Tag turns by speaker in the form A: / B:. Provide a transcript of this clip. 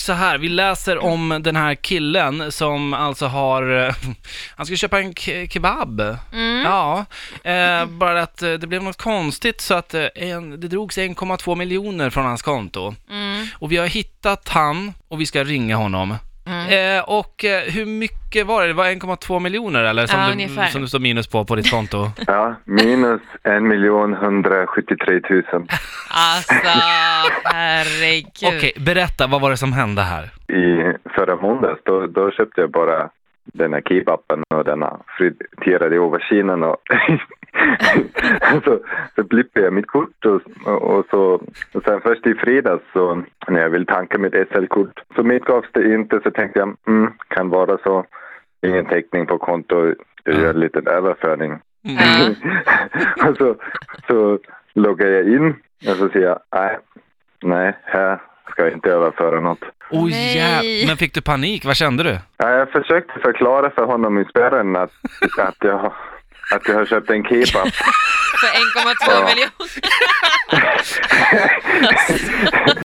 A: så här, vi läser om den här killen som alltså har, han ska köpa en ke- kebab.
B: Mm.
A: Ja, eh, bara att eh, det blev något konstigt så att eh, en, det drogs 1,2 miljoner från hans konto.
B: Mm.
A: Och vi har hittat han och vi ska ringa honom.
B: Mm.
A: Eh, och eh, hur mycket var det? Det var 1,2 miljoner eller? Som,
B: Ja,
A: du,
B: ungefär.
A: som du står minus på på ditt konto.
C: Ja, minus 1 173 000.
B: Alltså, herregud.
A: Okej, berätta, vad var det som hände här?
C: I förra måndags, då, då köpte jag bara den här kebaben och den här friterade auberginen och så, så blippade jag mitt kort och, och så och sen först i fredags så när jag vill tanka mitt SL-kort så medgavs det inte så tänkte jag mm, kan vara så ingen täckning på konto, jag gör en liten överföring
B: Ja.
C: och så, så loggar jag in och så säger jag nej, nej, här ska jag inte överföra något.
A: Oj,
B: Nej.
A: jäv... Men fick du panik? Vad kände du?
C: Ja, jag försökte förklara för honom i spärren att, att, jag, har- att jag har köpt en kebab.
B: För 1,2 miljoner.